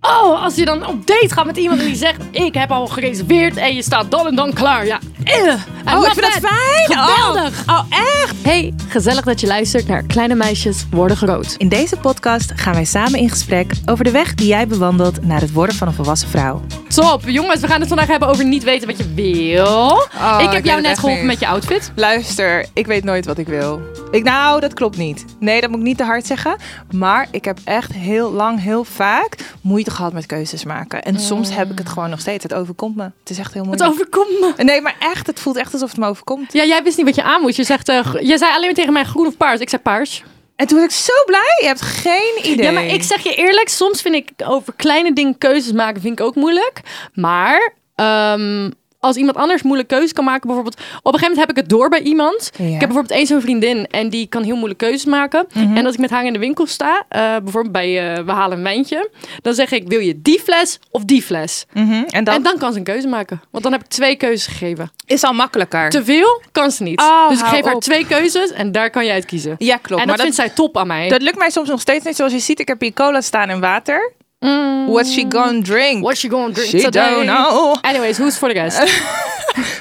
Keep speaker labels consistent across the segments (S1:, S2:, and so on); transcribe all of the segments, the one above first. S1: Oh, als je dan op date gaat met iemand en die zegt: Ik heb al gereserveerd en je staat dan en dan klaar. Ja.
S2: Oh, ik vind dat fijn.
S1: Geweldig.
S2: Oh, oh, echt?
S1: Hey, gezellig dat je luistert naar Kleine Meisjes Worden Groot.
S3: In deze podcast gaan wij samen in gesprek over de weg die jij bewandelt naar het worden van een volwassen vrouw.
S1: Top, jongens, we gaan het vandaag hebben over niet weten wat je wil. ik
S2: Oh, ik
S1: heb
S2: weet
S1: jou
S2: het
S1: net
S2: echt
S1: geholpen
S2: niet.
S1: met je outfit.
S2: Luister, ik weet nooit wat ik wil. Ik, nou, dat klopt niet. Nee, dat moet ik niet te hard zeggen. Maar ik heb echt heel lang, heel vaak moeite gehad met keuzes maken. En soms heb ik het gewoon nog steeds. Het overkomt me. Het is echt heel
S1: Het
S2: moeilijk.
S1: overkomt me.
S2: Nee, maar echt, het voelt echt alsof het me overkomt.
S1: Ja, jij wist niet wat je aan moest. Je, zegt, eh, gro- je zei alleen maar tegen mij groen of paars. Ik zei paars.
S2: En toen was ik zo blij. Je hebt geen idee.
S1: Ja, maar ik zeg je eerlijk, soms vind ik over kleine dingen keuzes maken vind ik ook moeilijk. Maar ehm, als iemand anders moeilijk keuzes kan maken, bijvoorbeeld. Op een gegeven moment heb ik het door bij iemand.
S2: Ja.
S1: Ik heb bijvoorbeeld één zo'n vriendin en die kan heel moeilijk keuzes maken. En als ik met haar in de winkel sta, eh, bijvoorbeeld bij eh, we halen een wijntje, dan zeg ik: wil je die fles of die fles?
S2: Mhm, En dat
S1: En dan kan ze een keuze maken. Want dan heb ik twee keuzes gegeven.
S2: is al makkelijker.
S1: Te veel kan ze niet.
S2: Oh,
S1: dus ik
S2: hou
S1: geef haar
S2: op.
S1: twee keuzes en daar kan jij het kiezen.
S2: Ja, klopt.
S1: en dat,
S2: maar
S1: vindt zij top aan mij.
S2: dat lukt mij soms nog steeds niet. Zoals je ziet, ik heb hier cola staan en water. What's she gonna drink?
S1: What you Mm. gonna drink
S2: She
S1: today?
S2: don't know.
S1: Anyways, hoe is het voor de rest?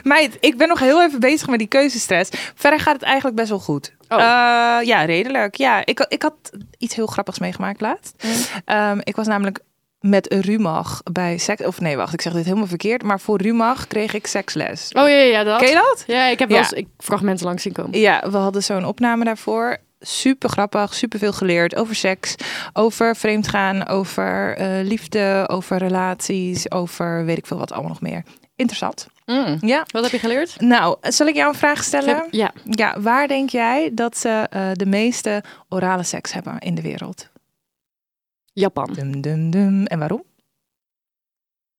S2: Meid, ik ben nog heel even bezig met die keuzestress. Verder gaat het eigenlijk best wel goed.
S1: Oh.
S2: Eh, ja, redelijk. Ja, ik, ik had iets heel grappigs meegemaakt laatst.
S1: Mm.
S2: Ehm, ik was namelijk met Rumach bij seks... Of nee, wacht, ik zeg dit helemaal verkeerd. Maar voor Rumach kreeg ik seksles.
S1: Oh ja, ja, ja, dat.
S2: Ken je dat?
S1: Ja, ik heb wel
S2: Ja.
S1: eens ik fragmenten langs zien komen.
S2: Ja, we hadden zo'n opname daarvoor. Super grappig, super veel geleerd over seks, over vreemdgaan, over eh, liefde, over relaties, over weet ik veel wat allemaal nog meer. Interessant.
S1: Mm.
S2: Ja.
S1: Wat heb je geleerd?
S2: Nou, zal ik jou een vraag stellen?
S1: Heb- Ja.
S2: Ja, waar denk jij dat ze eh, de meeste orale seks hebben in de wereld?
S1: Japan.
S2: Dum, dum, dum. En waarom?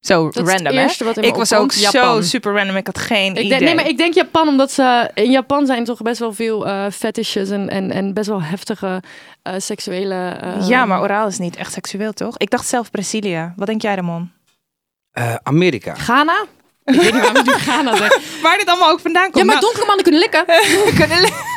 S2: Zo
S1: Dat is
S2: random,
S1: het
S2: hè?
S1: eerste wat in me
S2: Ik was ook
S1: opkomt. Japan.
S2: zo super random. Ik had geen
S1: ik
S2: idee.
S1: denk, nee, maar ik denk Japan, omdat ze in Japan zijn toch best wel veel eh fetishes en, en, en best wel heftige eh, seksuele. eh,
S2: Ja, maar oraal is niet echt seksueel, toch? Ik dacht zelf Brazilië. Wat denk jij, Ramon?
S4: Eh, Amerika.
S1: Ghana? Ik weet niet waarom ik nu Ghana zeg.
S2: Waar dit allemaal ook vandaan
S1: Ja,
S2: komt.
S1: maar
S2: Nou,
S1: donkere mannen kunnen likken.
S2: kunnen le-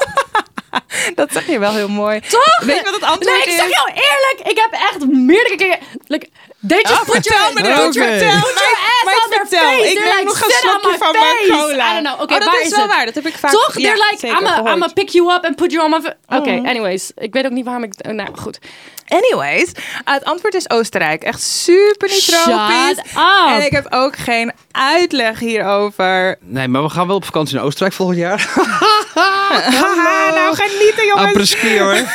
S2: dat zeg je wel heel mooi.
S1: Toch?
S2: Weet je wat het antwoord
S1: Nee, ik zeg
S2: is?
S1: jou eerlijk, ik heb echt meerdere keren. Like, they just
S2: Oh,
S1: put your,
S2: vertel me dit.
S1: put your,
S4: Oké.
S1: put your ass
S2: Meid,
S1: on their
S2: vertel.
S1: face.
S2: Ik
S1: They're
S2: neem
S1: like,
S2: nog een
S1: "Sit on
S2: slokje
S1: my
S2: van
S1: face."
S2: mijn cola.
S1: I don't know. Oké,
S2: Oh, dat
S1: waar
S2: is
S1: is
S2: wel
S1: het?
S2: waar. Dat heb ik vaak-
S1: Toch?
S2: Ja,
S1: they're like,
S2: zeker, Mm.
S1: I'm a-
S2: gehoord.
S1: I'm a pick you up and put you on my... fa- Oké, anyways. Ik weet ook niet waarom ik... eh, Nou, goed.
S2: Anyways, eh, het antwoord is Oostenrijk. Echt super niet tropisch.
S1: Shut up.
S2: En ik heb ook geen uitleg hierover.
S4: Nee, maar we gaan wel op vakantie naar Oostenrijk volgend jaar.
S2: Haha, nou genieten jongens.
S4: Apres-ski hoor.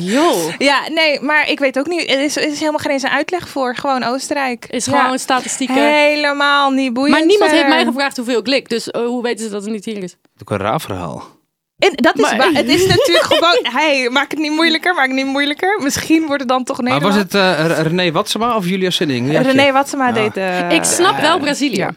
S1: Yo.
S2: Ja, nee, maar ik weet ook niet. Er is, er is helemaal geen eens een uitleg voor. Gewoon Oostenrijk.
S1: Is
S2: Ja.
S1: gewoon statistieken.
S2: Helemaal niet boeiend.
S1: maar niemand heeft
S2: verder.
S1: mij gevraagd hoeveel ik lik. Dus eh, hoe weten ze dat het niet hier is?
S4: Ook een raar verhaal.
S2: En dat is
S1: Maar-
S2: waar. Het is natuurlijk gewoon... Hey, maak het niet moeilijker, maak het niet moeilijker. Misschien wordt het dan toch
S4: Maar
S2: Nederland.
S4: was het eh, R- René Watsema of Julia Sinning? Ja,
S2: René
S4: tje.
S2: Watsema deed... eh,
S1: ik snap wel Brazilië.
S2: ja.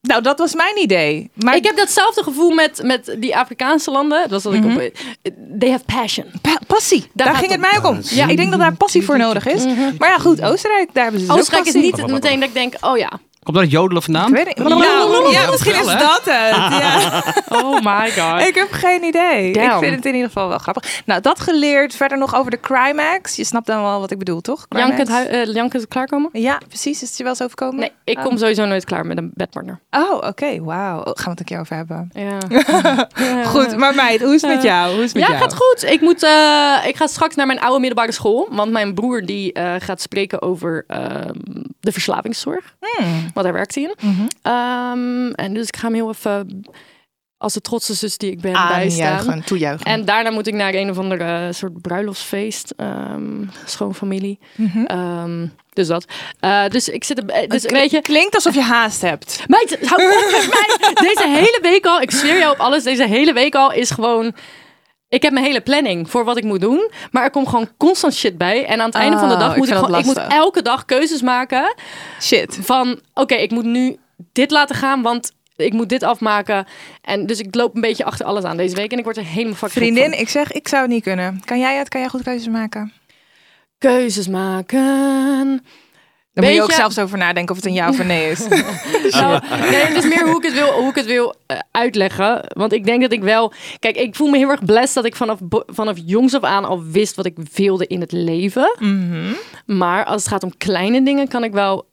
S2: Nou, dat was mijn idee. Maar
S1: Ik heb datzelfde gevoel met, met die Afrikaanse landen. Dat was wat
S2: Mhm.
S1: ik op... eh, They have passion.
S2: Pa- passie. Daar,
S1: gaat
S2: ging het
S1: het
S2: mij ook om. Ja, ik denk dat daar passie voor nodig is. Maar ja, goed, Oostenrijk, daar hebben ze dus ook
S1: Oostenrijk is
S2: passie.
S1: niet meteen dat ik denk, oh ja.
S4: Komt dat jodelen
S2: Ik
S4: vandaan?
S2: weet het- Nou, ja, misschien is
S4: wel, hè?
S2: dat het. Ja.
S1: Oh my god.
S2: Ik heb geen idee.
S1: Damn.
S2: Ik vind het in ieder geval wel grappig. Nou, dat geleerd. Verder nog over de Crimax. Je snapt dan wel wat ik bedoel, toch? Crimax.
S1: Janke, het hui- eh, Janke, het klaarkomen?
S2: Ja, precies. Is het je wel eens overkomen?
S1: Nee, ik kom sowieso nooit klaar met een bedpartner.
S2: Oh, oké. Wauw. Oh, gaan we het een keer over hebben.
S1: Ja,
S2: Goed, maar meid, hoe is het met jou? Hoe is het met
S1: Eh, ja
S2: jou?
S1: gaat goed. Ik, moet, eh, ik ga straks naar mijn oude middelbare school. Want mijn broer die eh, gaat spreken over ehm, de verslavingszorg. Want daar werkt hij in. Ehm, en dus ik ga hem heel even, als de trotse zus die ik ben, bijstaan.
S2: Aanjuichen, toejuichen.
S1: En daarna moet ik naar een of andere eh, soort bruiloftsfeest. ehm schoonfamilie.
S2: Mhm.
S1: Ehm, dus dat. Eh, dus ik zit... er- Dus, weet je,
S2: Klinkt alsof je haast hebt.
S1: Meid, hou op met mij. Deze hele week al, ik zweer jou op alles, deze hele week al is gewoon... Ik heb mijn hele planning voor wat ik moet doen. Maar er komt gewoon constant shit bij. En aan het einde van de
S2: Oh,
S1: dag
S2: ik
S1: moet ik,
S2: vind dat
S1: gewoon, ik moet
S2: lastig.
S1: elke dag keuzes maken.
S2: Shit.
S1: Van oké, ik moet nu dit laten gaan. Want ik moet dit afmaken. En dus ik loop een beetje achter alles aan deze week. En ik word er helemaal fucking gek
S2: Vriendin,
S1: van.
S2: ik zeg, ik zou het niet kunnen. Kan jij het? Kan jij goed keuzes maken?
S1: Keuzes maken.
S2: Dan
S1: Weet
S2: moet je ook
S1: je-
S2: zelfs over nadenken of het een ja of een nee is.
S1: Nou, nee, het is meer hoe ik het wil, hoe ik het wil eh, uitleggen. Want ik denk dat ik wel. Kijk, ik voel me heel erg blessed dat ik vanaf, bo- vanaf jongs af aan al wist wat ik wilde in het leven.
S2: Mhm.
S1: Maar als het gaat om kleine dingen, kan ik wel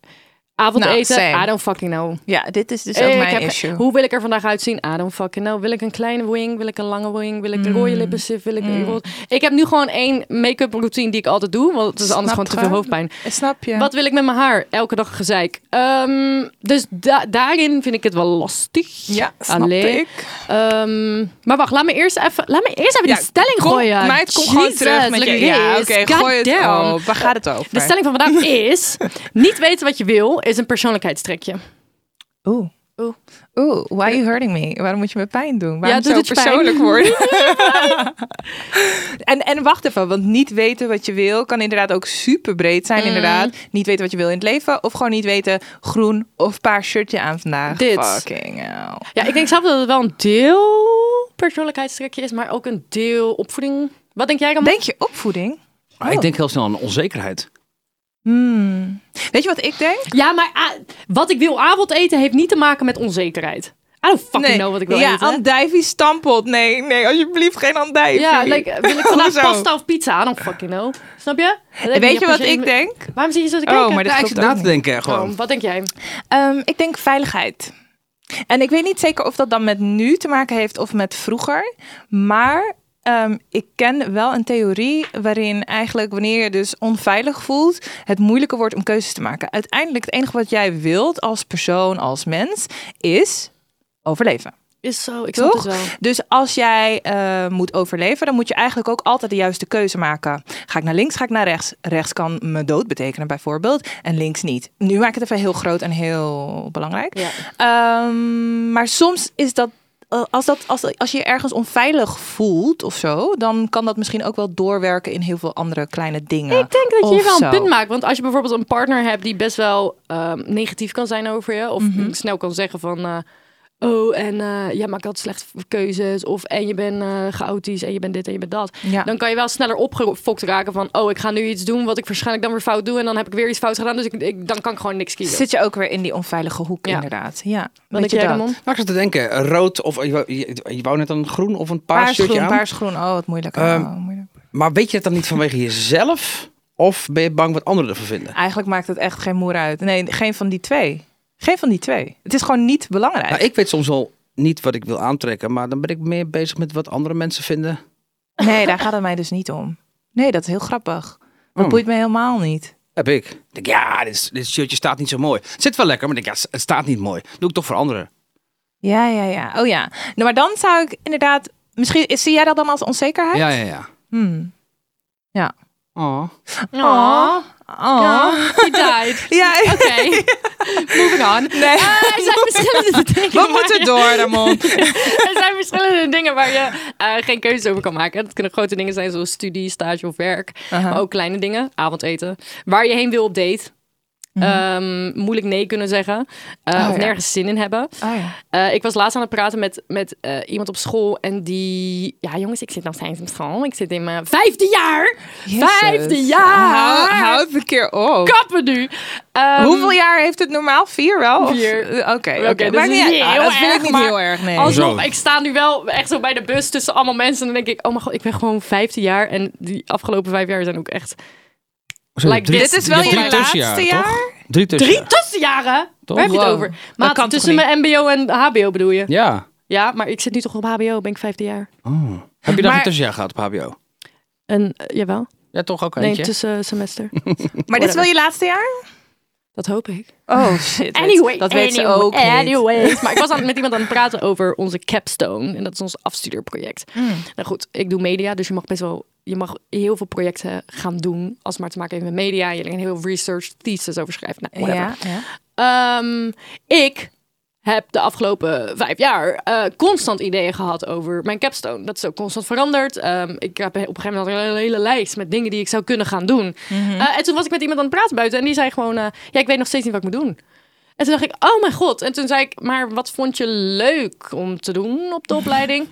S1: avondeten.
S2: Nou, same.
S1: I don't fucking know.
S2: ja, dit is dus
S1: Eh,
S2: ook
S1: ik
S2: mijn
S1: heb-
S2: issue.
S1: Hoe wil ik er vandaag uitzien? I don't fucking know. Wil ik een kleine wing? Wil ik een lange wing? Wil ik een
S2: Mm.
S1: rode lippenstift? Wil ik een roze- Ik heb nu gewoon één make-up routine die ik altijd doe. Want het is anders gewoon
S2: Snap
S1: te
S2: je?
S1: veel hoofdpijn.
S2: Snap je?
S1: Wat wil ik met mijn haar? Elke dag gezeik. Ehm, dus da- daarin vind ik het wel lastig.
S2: ja, snap
S1: Allee.
S2: ik.
S1: Ehm, maar wacht, laat me eerst even, laat me eerst even
S2: Ja,
S1: die stelling
S2: Kom,
S1: gooien.
S2: meid, kom gewoon
S1: Jesus,
S2: terug met je.
S1: look
S2: Ja,
S1: at
S2: oké,
S1: this.
S2: gooi het
S1: Goddamn.
S2: op. Waar gaat het over?
S1: De stelling van vandaag is: niet weten wat je wil is een persoonlijkheidstrekje.
S2: Oeh.
S1: Oeh.
S2: Oeh, why are you hurting me? Waarom moet je me pijn doen? Waarom
S1: doet
S2: zo
S1: het pijn?
S2: persoonlijk worden? en, en wacht even, want niet weten wat je wil kan inderdaad ook super breed
S1: Mm.
S2: zijn. Inderdaad, niet weten wat je wil in het leven. Of gewoon niet weten groen of paars shirtje aan vandaag.
S1: Dit.
S2: Fucking hell.
S1: Ja, ik denk zelf dat het wel een deel persoonlijkheidstrekje is, maar ook een deel opvoeding. Wat denk jij dan?
S2: Denk je opvoeding?
S4: Maar Ah, ik denk heel snel aan onzekerheid.
S2: Hmm. Weet je wat ik denk?
S1: Ja, maar ah, wat ik wil avondeten heeft niet te maken met onzekerheid. I don't fucking know wat ik wil
S2: ja,
S1: eten.
S2: andijvie stampelt. Nee, nee, alsjeblieft geen andijvie.
S1: Ja, like, wil ik vandaag
S2: Hoezo?
S1: pasta of pizza? I don't fucking know. Snap je? Dat heb
S2: Weet
S1: niet
S2: je
S1: per
S2: wat
S1: se-
S2: ik denk?
S1: Waarom zit je zo te kijken?
S2: Oh, maar dit
S4: Ja, ik
S2: klopt
S4: zit
S2: ook
S4: na te
S2: niet.
S4: denken gewoon.
S1: Oh, wat denk jij?
S2: Ehm, ik denk veiligheid. En ik weet niet zeker of dat dan met nu te maken heeft of met vroeger. Maar ehm, ik ken wel een theorie waarin eigenlijk wanneer je dus onveilig voelt, het moeilijker wordt om keuzes te maken. Uiteindelijk het enige wat jij wilt als persoon, als mens, is overleven.
S1: Is zo, ik snap
S2: Toch?
S1: het wel.
S2: Dus als jij eh, moet overleven, dan moet je eigenlijk ook altijd de juiste keuze maken. Ga ik naar links, ga ik naar rechts? Rechts kan me dood betekenen bijvoorbeeld en links niet. Nu maak ik het even heel groot en heel belangrijk.
S1: Ja.
S2: Ehm, maar soms is dat eh, als, dat, als, dat- als je je ergens onveilig voelt of zo, dan kan dat misschien ook wel doorwerken in heel veel andere kleine dingen.
S1: Ik denk dat je
S2: of
S1: hier wel
S2: zo.
S1: een punt maakt. Want als je bijvoorbeeld een partner hebt die best wel ehm, negatief kan zijn over je. Of
S2: Mhm.
S1: snel kan zeggen van... eh, oh, en eh, jij maakt altijd slechte keuzes. Of en je bent eh chaotisch en je bent dit en je bent dat.
S2: Ja.
S1: Dan kan je wel sneller opgefokt raken van... Oh, ik ga nu iets doen wat ik waarschijnlijk dan weer fout doe. En dan heb ik weer iets fout gedaan. Dus ik, ik- dan kan ik gewoon niks kiezen.
S2: Zit je ook weer in die onveilige hoek,
S1: Ja.
S2: inderdaad. Ja,
S1: Wat
S2: weet
S1: denk
S2: je
S1: jij,
S2: dat?
S1: Ramon?
S4: Maar ik zat te denken, rood of... Je wou, je, je wou net een groen of een paars,
S2: Paars
S4: shirtje
S2: groen,
S4: aan.
S2: paars groen. Oh, wat moeilijk.
S4: Ehm,
S2: Oh, moeilijk.
S4: Maar weet je het dan niet vanwege jezelf? Of ben je bang wat anderen ervan vinden?
S2: Eigenlijk maakt het echt geen moer uit. Nee, geen van die twee. Geen van die twee. Het is gewoon niet belangrijk.
S4: Nou, ik weet soms al niet wat ik wil aantrekken, maar dan ben ik meer bezig met wat andere mensen vinden.
S2: Nee, daar gaat het mij dus niet om. Nee, dat is heel grappig. Dat
S4: Oh.
S2: boeit me helemaal niet.
S4: Heb ik. Ik denk, ja, dit, is- dit shirtje staat niet zo mooi. Het zit wel lekker, maar ik denk, ja, het staat niet mooi. Doe ik toch voor anderen.
S2: Ja, ja, ja. Oh ja. Nou, maar dan zou ik inderdaad... Misschien zie jij dat dan als onzekerheid?
S4: Ja, ja, ja.
S2: Hmm.
S4: Oh.
S1: Aw.
S2: Oh.
S1: Ja, he died.
S2: Ja.
S1: Oké, moving on.
S2: Nee.
S1: Eh, er zijn verschillende dingen.
S2: We moeten door, Ramon.
S1: er zijn verschillende dingen waar je eh, geen keuze over kan maken. Dat kunnen grote dingen zijn zoals studie, stage of werk. Maar ook kleine dingen, avondeten. Waar je heen wil op date. Ehm, moeilijk nee kunnen zeggen. Eh,
S2: Mhm. Oh,
S1: of
S2: ja.
S1: nergens zin in hebben.
S2: Oh, ja.
S1: Eh, ik was laatst aan het praten met, met eh, iemand op school. En die... Ja, jongens, ik zit nog steeds op school. Ik zit in mijn vijfde jaar. Vijfde
S2: Jezus.
S1: jaar.
S2: Hou, hou het een keer op.
S1: Kappen nu. Ehm,
S2: Hoeveel jaar heeft het normaal? Vier wel? Of-
S1: Vier.
S2: Oké, oké.
S1: Oké, dus
S2: Maakt
S1: het
S2: niet
S1: is
S2: uit.
S1: niet
S2: Ah,
S1: heel
S2: dat vind
S1: erg,
S2: ik niet
S1: maar
S2: heel erg, nee.
S1: Alsnog,
S4: Zo.
S1: ik sta nu wel echt zo bij de bus tussen allemaal mensen. En dan denk ik, oh mijn god, ik ben gewoon 15 jaar. En die afgelopen vijf jaar zijn ook echt Like drie-
S2: Dit is wel
S1: Drie
S2: je laatste jaar?
S1: drie
S4: Drie tussenjaar.
S1: tussenjaren. Waar heb je het
S2: Wow.
S1: over?
S2: kan
S1: Maar
S2: toch
S1: tussen
S2: niet?
S1: mijn mbo en hbo bedoel je?
S4: Ja.
S1: Ja, maar ik zit nu toch op hbo, ben ik 15 jaar.
S4: Heb je dan
S2: Maar-
S4: een tussenjaar gehad op HBO?
S1: En, eh, jawel.
S4: Ja, toch ook
S1: Nee,
S4: eentje?
S1: tussen semester.
S2: Maar dit is wel je laatste jaar?
S1: Dat hoop ik.
S2: Oh shit.
S1: Anyway,
S2: dat weet
S1: anyway,
S2: ze ook niet.
S1: anyways. Maar ik was aan, met iemand aan het praten over onze capstone. En dat is ons afstudeerproject.
S2: Hmm.
S1: Nou goed, ik doe media, dus je mag best wel... Je mag heel veel projecten gaan doen als het maar te maken heeft met media. Je kan heel veel research thesis over schrijven. Nou, whatever.
S2: Ja, ja.
S1: Ehm, ik heb de afgelopen vijf jaar eh, constant ideeën gehad over mijn capstone. Dat is ook constant veranderd. Ehm, ik heb op een gegeven moment een hele, hele lijst met dingen die ik zou kunnen gaan doen. Eh, en toen was ik met iemand aan het praten buiten en die zei gewoon, eh, ja, ik weet nog steeds niet wat ik moet doen. En toen dacht ik, oh mijn god. En toen zei ik, maar wat vond je leuk om te doen op de opleiding?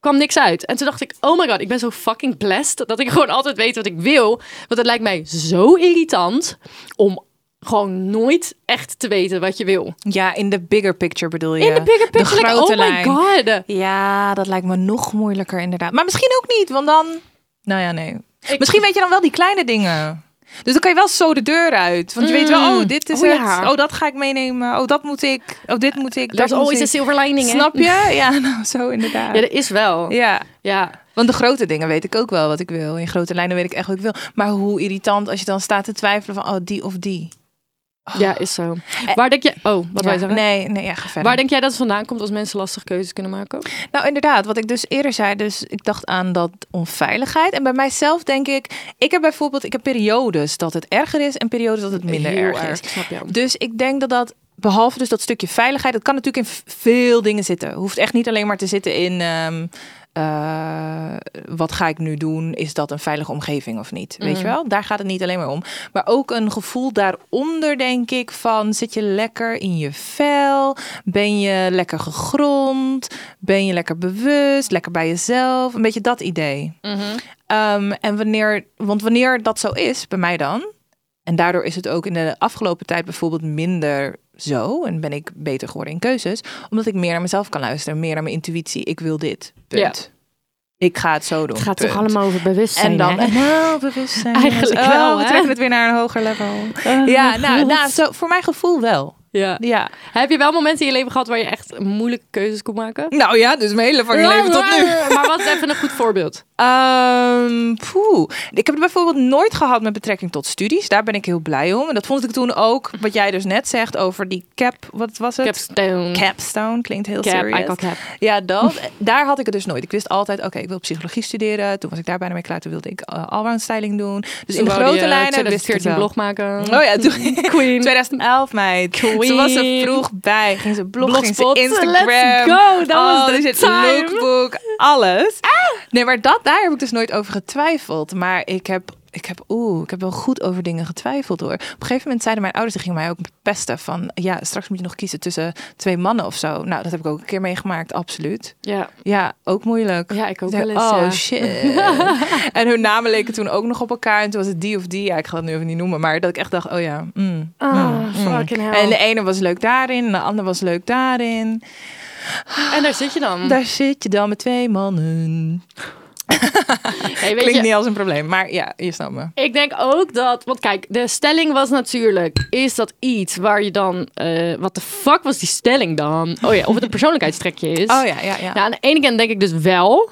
S1: kwam niks uit. En toen dacht ik, oh my god, ik ben zo fucking blessed dat ik gewoon altijd weet wat ik wil. Want het lijkt mij zo irritant om gewoon nooit echt te weten wat je wil.
S2: Ja, in de bigger picture bedoel je.
S1: In de bigger picture,
S2: De
S1: like,
S2: grote
S1: oh my
S2: lijn.
S1: god.
S2: Ja, dat lijkt me nog moeilijker inderdaad. Maar misschien ook niet, want dan... Nou ja, nee. Misschien weet je dan wel die kleine dingen. Dus dan kan je wel zo de deur uit. Want je weet wel, oh, dit is
S1: Oh,
S2: het.
S1: ja.
S2: Oh, dat ga ik meenemen. Oh, dat moet ik. Oh, dit moet ik. Dat
S1: There's
S2: moet
S1: always
S2: ik.
S1: a silver lining, hè?
S2: Snap je? Ja, nou, zo inderdaad.
S1: Ja,
S2: Ja,
S1: dat is wel. Ja.
S2: want de grote dingen weet ik ook wel wat ik wil. In grote lijnen weet ik echt wat ik wil. Maar hoe irritant als je dan staat te twijfelen van, oh, die of die.
S1: ja, is zo. Waar denk je... Oh, wat wij
S2: Eh, Ja,
S1: zeggen?
S2: Nee, nee, ja, ga verder.
S1: Waar denk jij dat het vandaan komt als mensen lastige keuzes kunnen maken?
S2: Nou, inderdaad, wat ik dus eerder zei, dus ik dacht aan dat onveiligheid. En bij mijzelf denk ik, ik heb bijvoorbeeld, ik heb periodes dat het erger is en periodes dat het minder
S1: Heel
S2: erg,
S1: erg,
S2: is.
S1: snap jou.
S2: Dus ik denk dat dat, behalve dus dat stukje veiligheid, dat kan natuurlijk in v- veel dingen zitten. Hoeft echt niet alleen maar te zitten in ehm, eh, wat ga ik nu doen? Is dat een veilige omgeving of niet? Weet je wel? Daar gaat het niet alleen maar om. Maar ook een gevoel daaronder, denk ik, van zit je lekker in je vel? Ben je lekker gegrond? Ben je lekker bewust? Lekker bij jezelf? Een beetje dat idee. Ehm, en wanneer, want wanneer dat zo is, bij mij dan, en daardoor is het ook in de afgelopen tijd bijvoorbeeld minder zo. En ben ik beter geworden in keuzes. Omdat ik meer naar mezelf kan luisteren. Meer naar mijn intuïtie. Ik wil dit. Punt. Ik ga het zo doen.
S1: Het gaat toch
S2: punt.
S1: allemaal over bewustzijn,
S2: En dan
S1: hè?
S2: nou, bewustzijn.
S1: Eigenlijk
S2: Oh,
S1: wel,
S2: We
S1: hè?
S2: trekken het weer naar een hoger level. ja, nou, nou zo, voor mijn gevoel wel.
S1: Ja.
S2: Ja.
S1: Heb je wel momenten in je leven gehad waar je echt moeilijke keuzes kon maken?
S2: Nou ja, dus mijn hele fucking leven tot nu.
S1: Maar wat is even een goed voorbeeld?
S2: Ehm, poeh. Ik heb het bijvoorbeeld nooit gehad met betrekking tot studies. Daar ben ik heel blij om. En dat vond ik toen ook, wat jij dus net zegt over die cap. Wat was het?
S1: Capstone.
S2: Capstone klinkt heel
S1: Cap,
S2: serieus.
S1: I got cap.
S2: Ja, dat. Daar had ik het dus nooit. Ik wist altijd, oké, ik wil psychologie studeren. Toen was ik daar bijna mee klaar. Toen wilde ik eh, allround styling doen. Dus in de grote lijnen wist ik het
S1: 2014
S2: wel.
S1: blog maken.
S2: Oh ja, toen
S1: Queen.
S2: 2011 meid. Ze was er
S1: Queen.
S2: vroeg bij. Ging ze blog, ging ze
S1: Blogspot.
S2: Instagram.
S1: Let's go. That
S2: oh,
S1: was the
S2: er zit
S1: time. Ah!
S2: lookbook, alles. Nee, maar dat, daar heb ik dus nooit over getwijfeld. Maar ik heb, ik heb, oeh, ik heb wel goed over dingen getwijfeld hoor. Op een gegeven moment zeiden mijn ouders, die gingen mij ook pesten van, ja, straks moet je nog kiezen tussen twee mannen of zo. Nou, dat heb ik ook een keer meegemaakt, absoluut.
S1: Ja.
S2: Ja, ook moeilijk.
S1: Ja, ik ook
S2: zei,
S1: wel eens,
S2: Oh
S1: ja."
S2: shit. en hun namen leken toen ook nog op elkaar. En toen was het die of die. Ja, ik ga dat nu even niet noemen. Maar dat ik echt dacht, oh ja. mm.
S1: Ah, fucking hell.
S2: En
S1: En,
S2: de ene was leuk daarin. En de ander was leuk daarin.
S1: Mm. daar zit je dan.
S2: Daar zit je dan met twee mannen.
S1: Hey, weet
S2: Klinkt
S1: je,
S2: niet als een probleem. Maar ja, je snapt me.
S1: ik denk ook dat... Want kijk, de stelling was natuurlijk... Is dat iets waar je dan... eh wat de fuck was die stelling dan? Oh ja, of het een persoonlijkheidstrekje is.
S2: Oh ja, ja, Mhm. ja.
S1: Nou, aan de ene kant denk ik dus wel.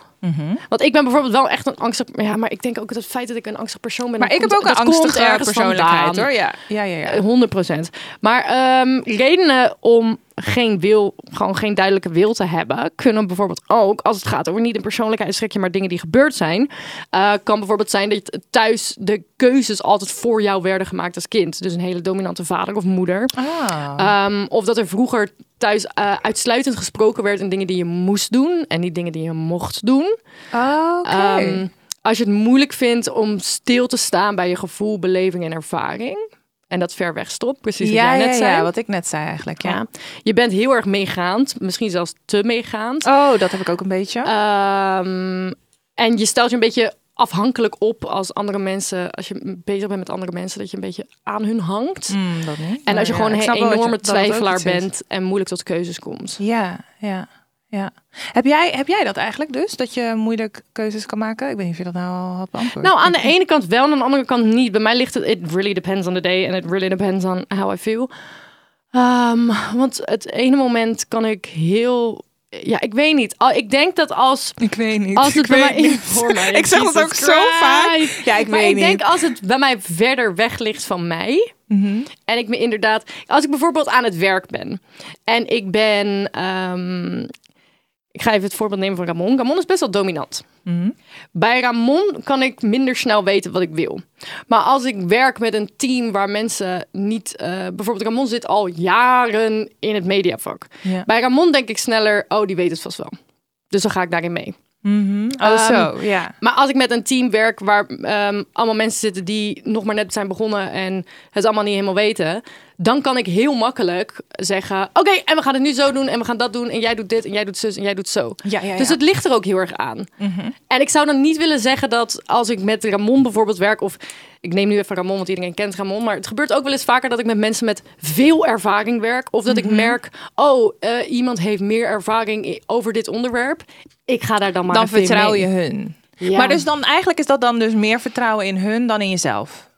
S1: Want ik ben bijvoorbeeld wel echt een angstig... Ja, maar ik denk ook dat het feit dat ik een angstig persoon ben...
S2: maar
S1: dat
S2: ik heb
S1: komt-
S2: ook een
S1: dat komt
S2: angstige
S1: ergens
S2: persoonlijkheid
S1: vandaan. Eh,
S2: hoor. Ja, ja, ja. ja.
S1: 100 procent. Maar ehm, redenen om geen wil, gewoon geen duidelijke wil te hebben, kunnen bijvoorbeeld ook, als het gaat over niet een persoonlijkheidstrekje, maar dingen die gebeurd zijn, eh, kan bijvoorbeeld zijn dat thuis de keuzes altijd voor jou werden gemaakt als kind. Dus een hele dominante vader of moeder.
S2: Ah.
S1: Ehm, of dat er vroeger thuis eh, uitsluitend gesproken werd in dingen die je moest doen en niet dingen die je mocht doen.
S2: Oké.
S1: Ehm, als je het moeilijk vindt om stil te staan bij je gevoel, beleving en ervaring. En dat ver weg stopt, precies
S2: ja,
S1: wat jij
S2: ja,
S1: net zei.
S2: ja, wat ik net zei eigenlijk. Ja.
S1: Ja. Je bent heel erg meegaand, misschien zelfs te meegaand.
S2: Oh, dat heb ik ook een beetje.
S1: Eh, Ehm, en je stelt je een beetje afhankelijk op als andere mensen, als je bezig bent met andere mensen, dat je een beetje aan hun hangt.
S2: Mm, dat niet.
S1: En
S2: Maar
S1: als je
S2: ja,
S1: gewoon
S2: ik
S1: een
S2: snap wel wat je-
S1: enorme
S2: dat het ook
S1: twijfelaar
S2: iets is.
S1: bent en moeilijk tot keuzes komt.
S2: Ja, ja, ja. Heb jij, heb jij dat eigenlijk dus? Dat je moeilijk keuzes kan maken? Ik weet niet of je dat nou al had beantwoord.
S1: Nou, aan de ene kant wel en aan de andere kant niet. Bij mij ligt het, it really depends on the day and it really depends on how I feel. Ehm, want het ene moment kan ik heel, ja, ik weet niet. Al- Ik denk dat als
S2: ik weet niet.
S1: Als het
S2: ik
S1: bij mij
S2: weet niet.
S1: Voor mij,
S2: Ik zeg dat
S1: Jesus
S2: ook zo vaak.
S1: Christ.
S2: Ja, ik
S1: maar
S2: weet
S1: ik denk
S2: niet.
S1: als het bij mij verder weg ligt van mij.
S2: Mhm.
S1: En ik me inderdaad, als ik bijvoorbeeld aan het werk ben en ik ben, ehm, ik ga even het voorbeeld nemen van Ramon. Ramon is best wel dominant.
S2: Mhm.
S1: Bij Ramon kan ik minder snel weten wat ik wil. Maar als ik werk met een team waar mensen niet... eh, bijvoorbeeld Ramon zit al jaren in het mediavak.
S2: Ja.
S1: Bij Ramon denk ik sneller, oh, die weet het vast wel. Dus dan ga ik daarin mee.
S2: Oh,
S1: Ehm,
S2: zo, ja.
S1: Maar als ik met een team werk waar ehm, allemaal mensen zitten die nog maar net zijn begonnen en het allemaal niet helemaal weten, dan kan ik heel makkelijk zeggen: Oké, en we gaan het nu zo doen en we gaan dat doen en jij doet dit en jij doet zus en jij doet zo.
S2: Ja, Mhm. ja,
S1: Dus
S2: ja.
S1: het ligt er ook heel erg aan. En ik zou dan niet willen zeggen dat als ik met Ramon bijvoorbeeld werk, of ik neem nu even Ramon, want iedereen kent Ramon, maar het gebeurt ook wel eens vaker dat ik met mensen met veel ervaring werk, of dat
S2: Mhm.
S1: ik merk: Oh, eh, iemand heeft meer ervaring i- over dit onderwerp. Ik ga daar dan maar
S2: Dan
S1: even in
S2: vertrouw
S1: mee.
S2: je hun.
S1: Ja.
S2: Maar dus dan eigenlijk is dat dan dus meer vertrouwen in hun dan in jezelf.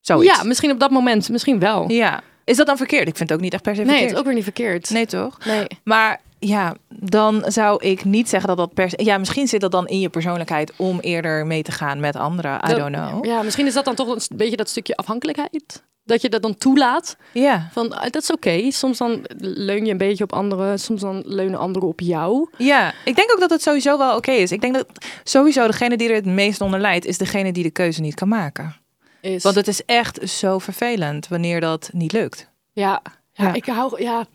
S2: Zoiets.
S1: Ja, misschien op dat moment. Misschien wel.
S2: Ja. Is dat dan verkeerd? Ik vind het ook niet echt per se
S1: nee,
S2: verkeerd.
S1: het is ook weer niet verkeerd.
S2: Nee, toch?
S1: Nee.
S2: Maar ja, dan zou ik niet zeggen dat dat per se... Ja, misschien zit dat dan in je persoonlijkheid om eerder mee te gaan met anderen. I
S1: Dat-
S2: don't know.
S1: Ja, misschien is dat dan toch een s- beetje dat stukje afhankelijkheid. Dat je dat dan toelaat.
S2: Ja.
S1: Van, ah, dat is oké. Soms dan leun je een beetje op anderen. Soms dan leunen anderen op jou.
S2: Ja, ik denk ook dat het sowieso wel oké is. Ik denk dat sowieso degene die er het meest onder lijdt... is degene die de keuze niet kan maken.
S1: Is,
S2: Want het is echt zo vervelend wanneer dat niet lukt.
S1: ja, ja,
S2: Ja.
S1: ik hou... Ja.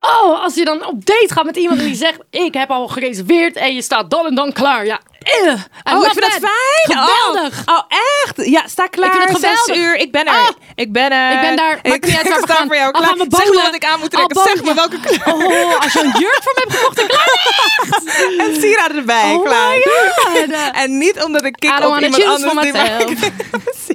S1: Oh, als je dan op date gaat met iemand en die zegt... Ik heb al gereserveerd en je staat dan en dan klaar. Ja. eh,
S2: Oh,
S1: I love that.
S2: fijn.
S1: Geweldig.
S2: Oh, echt? Ja, sta klaar.
S1: vind het
S2: Zes
S1: geweldig.
S2: uur. Ik ben er.
S1: Ah.
S2: ik ben er.
S1: Ik ben daar. Maakt
S2: Ik,
S1: niet uit waar we
S2: sta
S1: gaan.
S2: voor
S1: Al
S2: jou klaar.
S1: gaan we
S2: zeg me
S1: bowlen.
S2: wat ik aan moet
S1: Al
S2: trekken. Zeg me
S1: bowlen.
S2: welke kleur.
S1: Oh, als je een jurk voor me hebt gekocht, dan klaar.
S2: En sieraden erbij.
S1: Oh my
S2: klaar.
S1: God.
S2: En niet omdat ik
S1: I
S2: kik
S1: don't
S2: op
S1: wanna
S2: iemand
S1: choose for
S2: anders. die mij-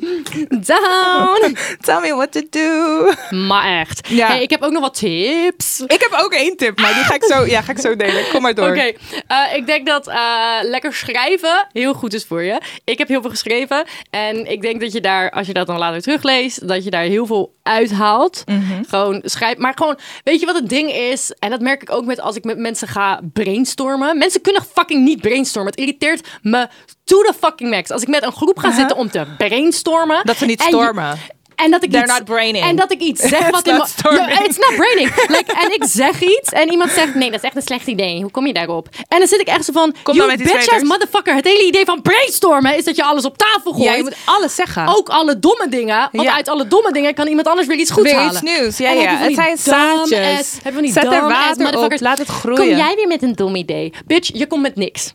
S1: Down.
S2: Tell me what to do.
S1: Maar echt.
S2: Ja.
S1: Hey, ik heb ook nog wat tips.
S2: Ik heb ook één tip, maar die ga ik zo, ja, ga ik zo delen. Kom maar door.
S1: Oké, eh, ik denk dat eh, lekker schrijven heel goed is voor je. Ik heb heel veel geschreven en ik denk dat je daar, als je dat dan later terugleest, dat je daar heel veel uithaalt.
S2: Mhm.
S1: Gewoon schrijf, maar gewoon, weet je wat het ding is? En dat merk ik ook met als ik met mensen ga brainstormen. Mensen kunnen fucking niet brainstormen. Het irriteert me to the fucking max. Als ik met een groep ga zitten om te brainstormen.
S2: Dat ze niet
S1: en je-
S2: stormen.
S1: En dat ik
S2: They're
S1: iets,
S2: not braining.
S1: En dat ik iets zeg
S2: It's
S1: wat in
S2: not
S1: me-
S2: storming.
S1: Ja, it's not braining. Like, en ik zeg iets en iemand zegt nee, dat is echt een slecht idee. Hoe kom je daarop? En dan zit ik echt zo van,
S2: dan
S1: you
S2: met iets
S1: bitch ass
S2: beters.
S1: motherfucker. Het hele idee van brainstormen is dat je alles op tafel gooit.
S2: Ja, je moet alles zeggen.
S1: Ook alle domme dingen. Want
S2: Ja.
S1: uit alle domme dingen kan iemand anders weer iets goeds
S2: Weer iets
S1: halen.
S2: nieuws, ja,
S1: En
S2: ja.
S1: heb je van
S2: Het
S1: die
S2: zijn
S1: dumb
S2: zaadjes.
S1: ass- heb je van die
S2: Zet er
S1: dumb ass
S2: water op,
S1: motherfuckers.
S2: laat het groeien. Mhm.
S1: Kom jij weer met een dom idee? Bitch, je komt met niks.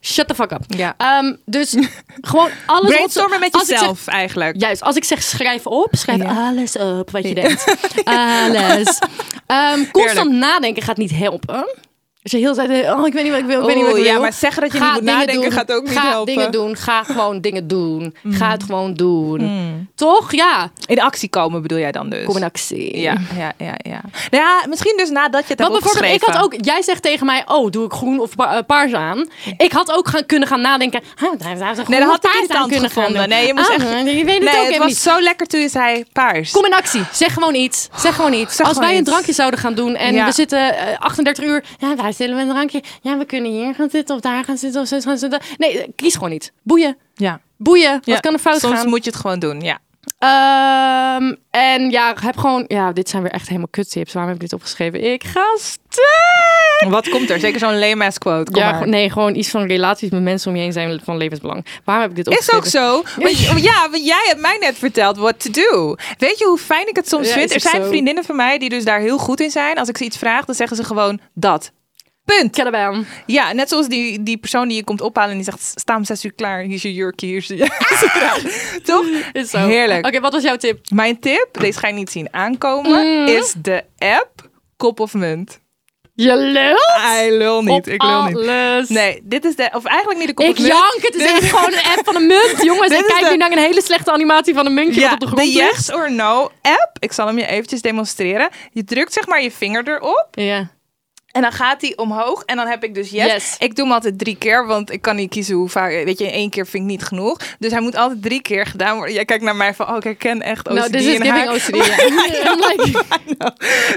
S1: Shut the fuck up.
S2: Ja.
S1: Ehm, dus gewoon alles... wat ze-
S2: Brainstormen met
S1: als ik zeg-
S2: jezelf eigenlijk.
S1: Juist, als ik zeg schrijf op, schrijf
S2: Ja.
S1: alles op wat je denkt. Alles. Ehm, constant
S2: Heerlijk.
S1: nadenken gaat niet helpen. Als je heel de tijd, oh, ik weet niet wat ik wil, ik weet niet wat ik
S2: Oeh,
S1: wil.
S2: ja, maar zeggen dat je niet moet
S1: dingen
S2: nadenken gaat ook niet
S1: ga
S2: helpen. Mm.
S1: dingen doen, ga gewoon dingen doen. Ga het gewoon doen. Toch? Ja.
S2: In actie komen bedoel jij dan dus?
S1: Kom in actie.
S2: Ja, ja, ja, ja. Nou ja, misschien dus nadat je het
S1: Want
S2: hebt
S1: bijvoorbeeld, ik
S2: opgeschreven.
S1: had ook, jij zegt tegen mij, oh, doe ik groen of pa- eh, paars aan. Ik had ook gaan, kunnen gaan nadenken, huh, daar zou ze groen
S2: Nee, dat
S1: of
S2: had ik
S1: paars aan
S2: irritant
S1: kunnen gaan
S2: gevonden.
S1: doen.
S2: Nee, je moest
S1: Ah,
S2: echt...
S1: Je weet het ook
S2: nee, het
S1: even
S2: was
S1: niet.
S2: zo lekker toen je zei paars.
S1: Kom in actie. Zeg gewoon iets. Zeg gewoon iets.
S2: Zeg
S1: Als
S2: gewoon
S1: wij een
S2: iets.
S1: drankje zouden gaan doen en
S2: Ja.
S1: we zitten eh, 38 uur. Ja, wij zullen we een drankje. Ja, we kunnen hier gaan zitten of daar gaan zitten of zo gaan zitten. Nee, eh, kies gewoon niet. Boeien.
S2: ja.
S1: Boeien.
S2: Ja,
S1: Wat kan er fout
S2: Soms
S1: gaan?
S2: moet je het gewoon doen, ja.
S1: Ehm, en ja, heb gewoon... Ja, dit zijn weer echt helemaal kuttips. Waarom heb ik dit opgeschreven? Ik ga stuk.
S2: Wat komt er? Zeker zo'n lame ass quote. Kom
S1: Ja,
S2: maar.
S1: gewoon- nee, gewoon iets van relaties met mensen om je heen zijn van levensbelang. Waarom heb ik dit
S2: Is ook
S1: opgeschreven?
S2: zo. Want, ja, want jij hebt mij net verteld what to do. Weet je hoe fijn ik het soms
S1: Ja,
S2: vind?
S1: is
S2: Er
S1: ook
S2: zijn
S1: zo.
S2: vriendinnen van mij die dus daar heel goed in zijn. Als ik ze iets vraag, dan zeggen ze gewoon dat. Punt.
S1: Cadabam.
S2: Ja, net zoals die, die persoon die je komt ophalen en die zegt... sta om zes uur klaar, hier is je jurkje, hier is je... Toch?
S1: Is zo.
S2: Heerlijk.
S1: Oké, wat was jouw tip?
S2: Mijn tip, deze ga je niet zien aankomen,
S1: Mm.
S2: is de app Kop of Munt.
S1: Je lult?
S2: Hij lul niet,
S1: Op
S2: ik lul niet.
S1: alles.
S2: Nee, dit is de, of eigenlijk niet de Kop
S1: Ik
S2: of Munt.
S1: jank, het is
S2: Dit-
S1: echt gewoon een app van een munt. Jongens,
S2: Dit
S1: ik
S2: is
S1: kijk
S2: de-
S1: nu naar een hele slechte animatie van een muntje
S2: Ja,
S1: wat op de grond
S2: de
S1: ligt.
S2: Yes or No app. Ik zal hem je eventjes demonstreren. Je drukt zeg maar je vinger erop
S1: Ja.
S2: en dan gaat die omhoog en dan heb ik dus yes.
S1: Yes.
S2: Ik doe hem altijd drie keer, want ik kan niet kiezen hoe vaak. Weet je, in één keer vind ik niet genoeg. Dus hij moet altijd drie keer gedaan worden. Jij kijkt naar mij van, oh, ik herken echt OCD
S1: Nou, this is
S2: in
S1: giving
S2: haar. Oh
S1: OCD. ja. I'm like,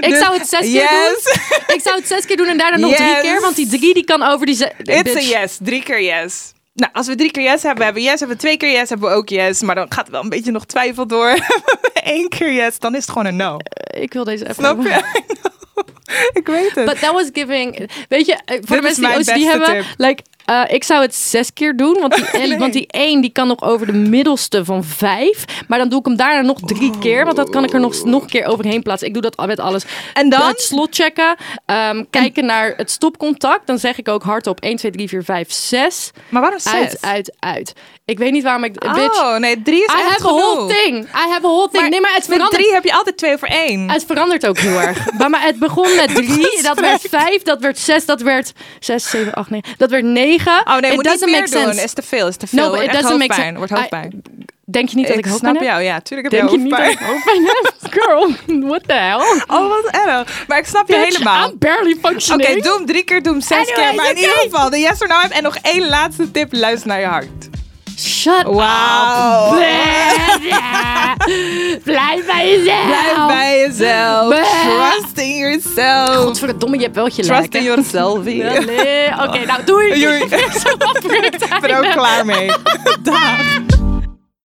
S1: ik
S2: Dus
S1: zou het zes keer
S2: yes.
S1: doen. Ik zou het zes keer doen en daarna nog
S2: Yes.
S1: drie keer. Want die drie die kan over die... ze-
S2: It's
S1: bitch.
S2: a yes. Drie keer yes. Nou, als we drie keer yes hebben, hebben we yes. Hebben we twee keer yes, hebben we ook yes. Maar dan gaat wel een beetje nog twijfel door. Hebben we Eén keer yes, dan is het gewoon een no.
S1: Ik wil deze app
S2: Snap
S1: hebben.
S2: je? ik weet het.
S1: But that was giving... Weet je, eh, voor de
S2: is
S1: mensen die
S2: mijn
S1: OCD
S2: beste
S1: hebben...
S2: tip.
S1: Like, Eh, ik zou het zes keer doen, want die, en- want die één die kan nog over de middelste van vijf. Maar dan doe ik hem daarna nog drie
S2: Oh.
S1: keer, want dat kan ik er nog, nog een keer overheen plaatsen. Ik doe dat al met alles.
S2: En dan?
S1: Het slot checken, ehm, kijken naar het stopcontact. Dan zeg ik ook hardop 1, 2, 3, 4, 5, 6.
S2: Maar waarom zes?
S1: Uit, uit, uit. Ik weet niet waarom ik... Bitch,
S2: Oh, nee, drie is
S1: I
S2: echt
S1: have a whole
S2: genoeg.
S1: thing. I have a whole thing.
S2: Maar
S1: nee, maar het
S2: met
S1: verandert
S2: drie heb je altijd twee voor één.
S1: het verandert ook heel erg. Maar, maar het begon met drie, dat werd vijf, dat werd zes, dat werd zes, zeven, acht, negen. Dat werd negen.
S2: Oh nee,
S1: It
S2: moet niet
S1: doesn't
S2: meer
S1: make
S2: doen.
S1: sense.
S2: Is te veel, is te veel.
S1: but
S2: Wordt
S1: it
S2: echt
S1: doesn't make
S2: hoofdpijn,
S1: sense.
S2: Wordt hoofdpijn.
S1: Denk je niet dat ik,
S2: ik
S1: hoofdpijn
S2: snap
S1: heb?
S2: jou, ja, tuurlijk heb
S1: Denk
S2: je
S1: je niet dat ik hoofdpijn
S2: hoofdpijn.
S1: heb? Girl, what the hell?
S2: Oh, wat erg. Maar ik snap je
S1: Bitch,
S2: helemaal.
S1: I'm barely
S2: Oké,
S1: functioning.
S2: doe hem drie keer, doe hem zes
S1: Anyways,
S2: keer. Maar in
S1: oké.
S2: ieder geval, de yes or no heb. En nog één laatste tip, luister naar je hart.
S1: Shut
S2: Wauw.
S1: up. bitch. Blijf bij jezelf.
S2: Blijf bij jezelf.
S1: Bah.
S2: Trust in yourself.
S1: Godverdomme, je hebt wel je
S2: Trust in yourself.
S1: Nee, Oké, nou doei.
S2: Joei.
S1: Ik ben zo opgerukt.
S2: Ik ben er ook klaar mee. Dag.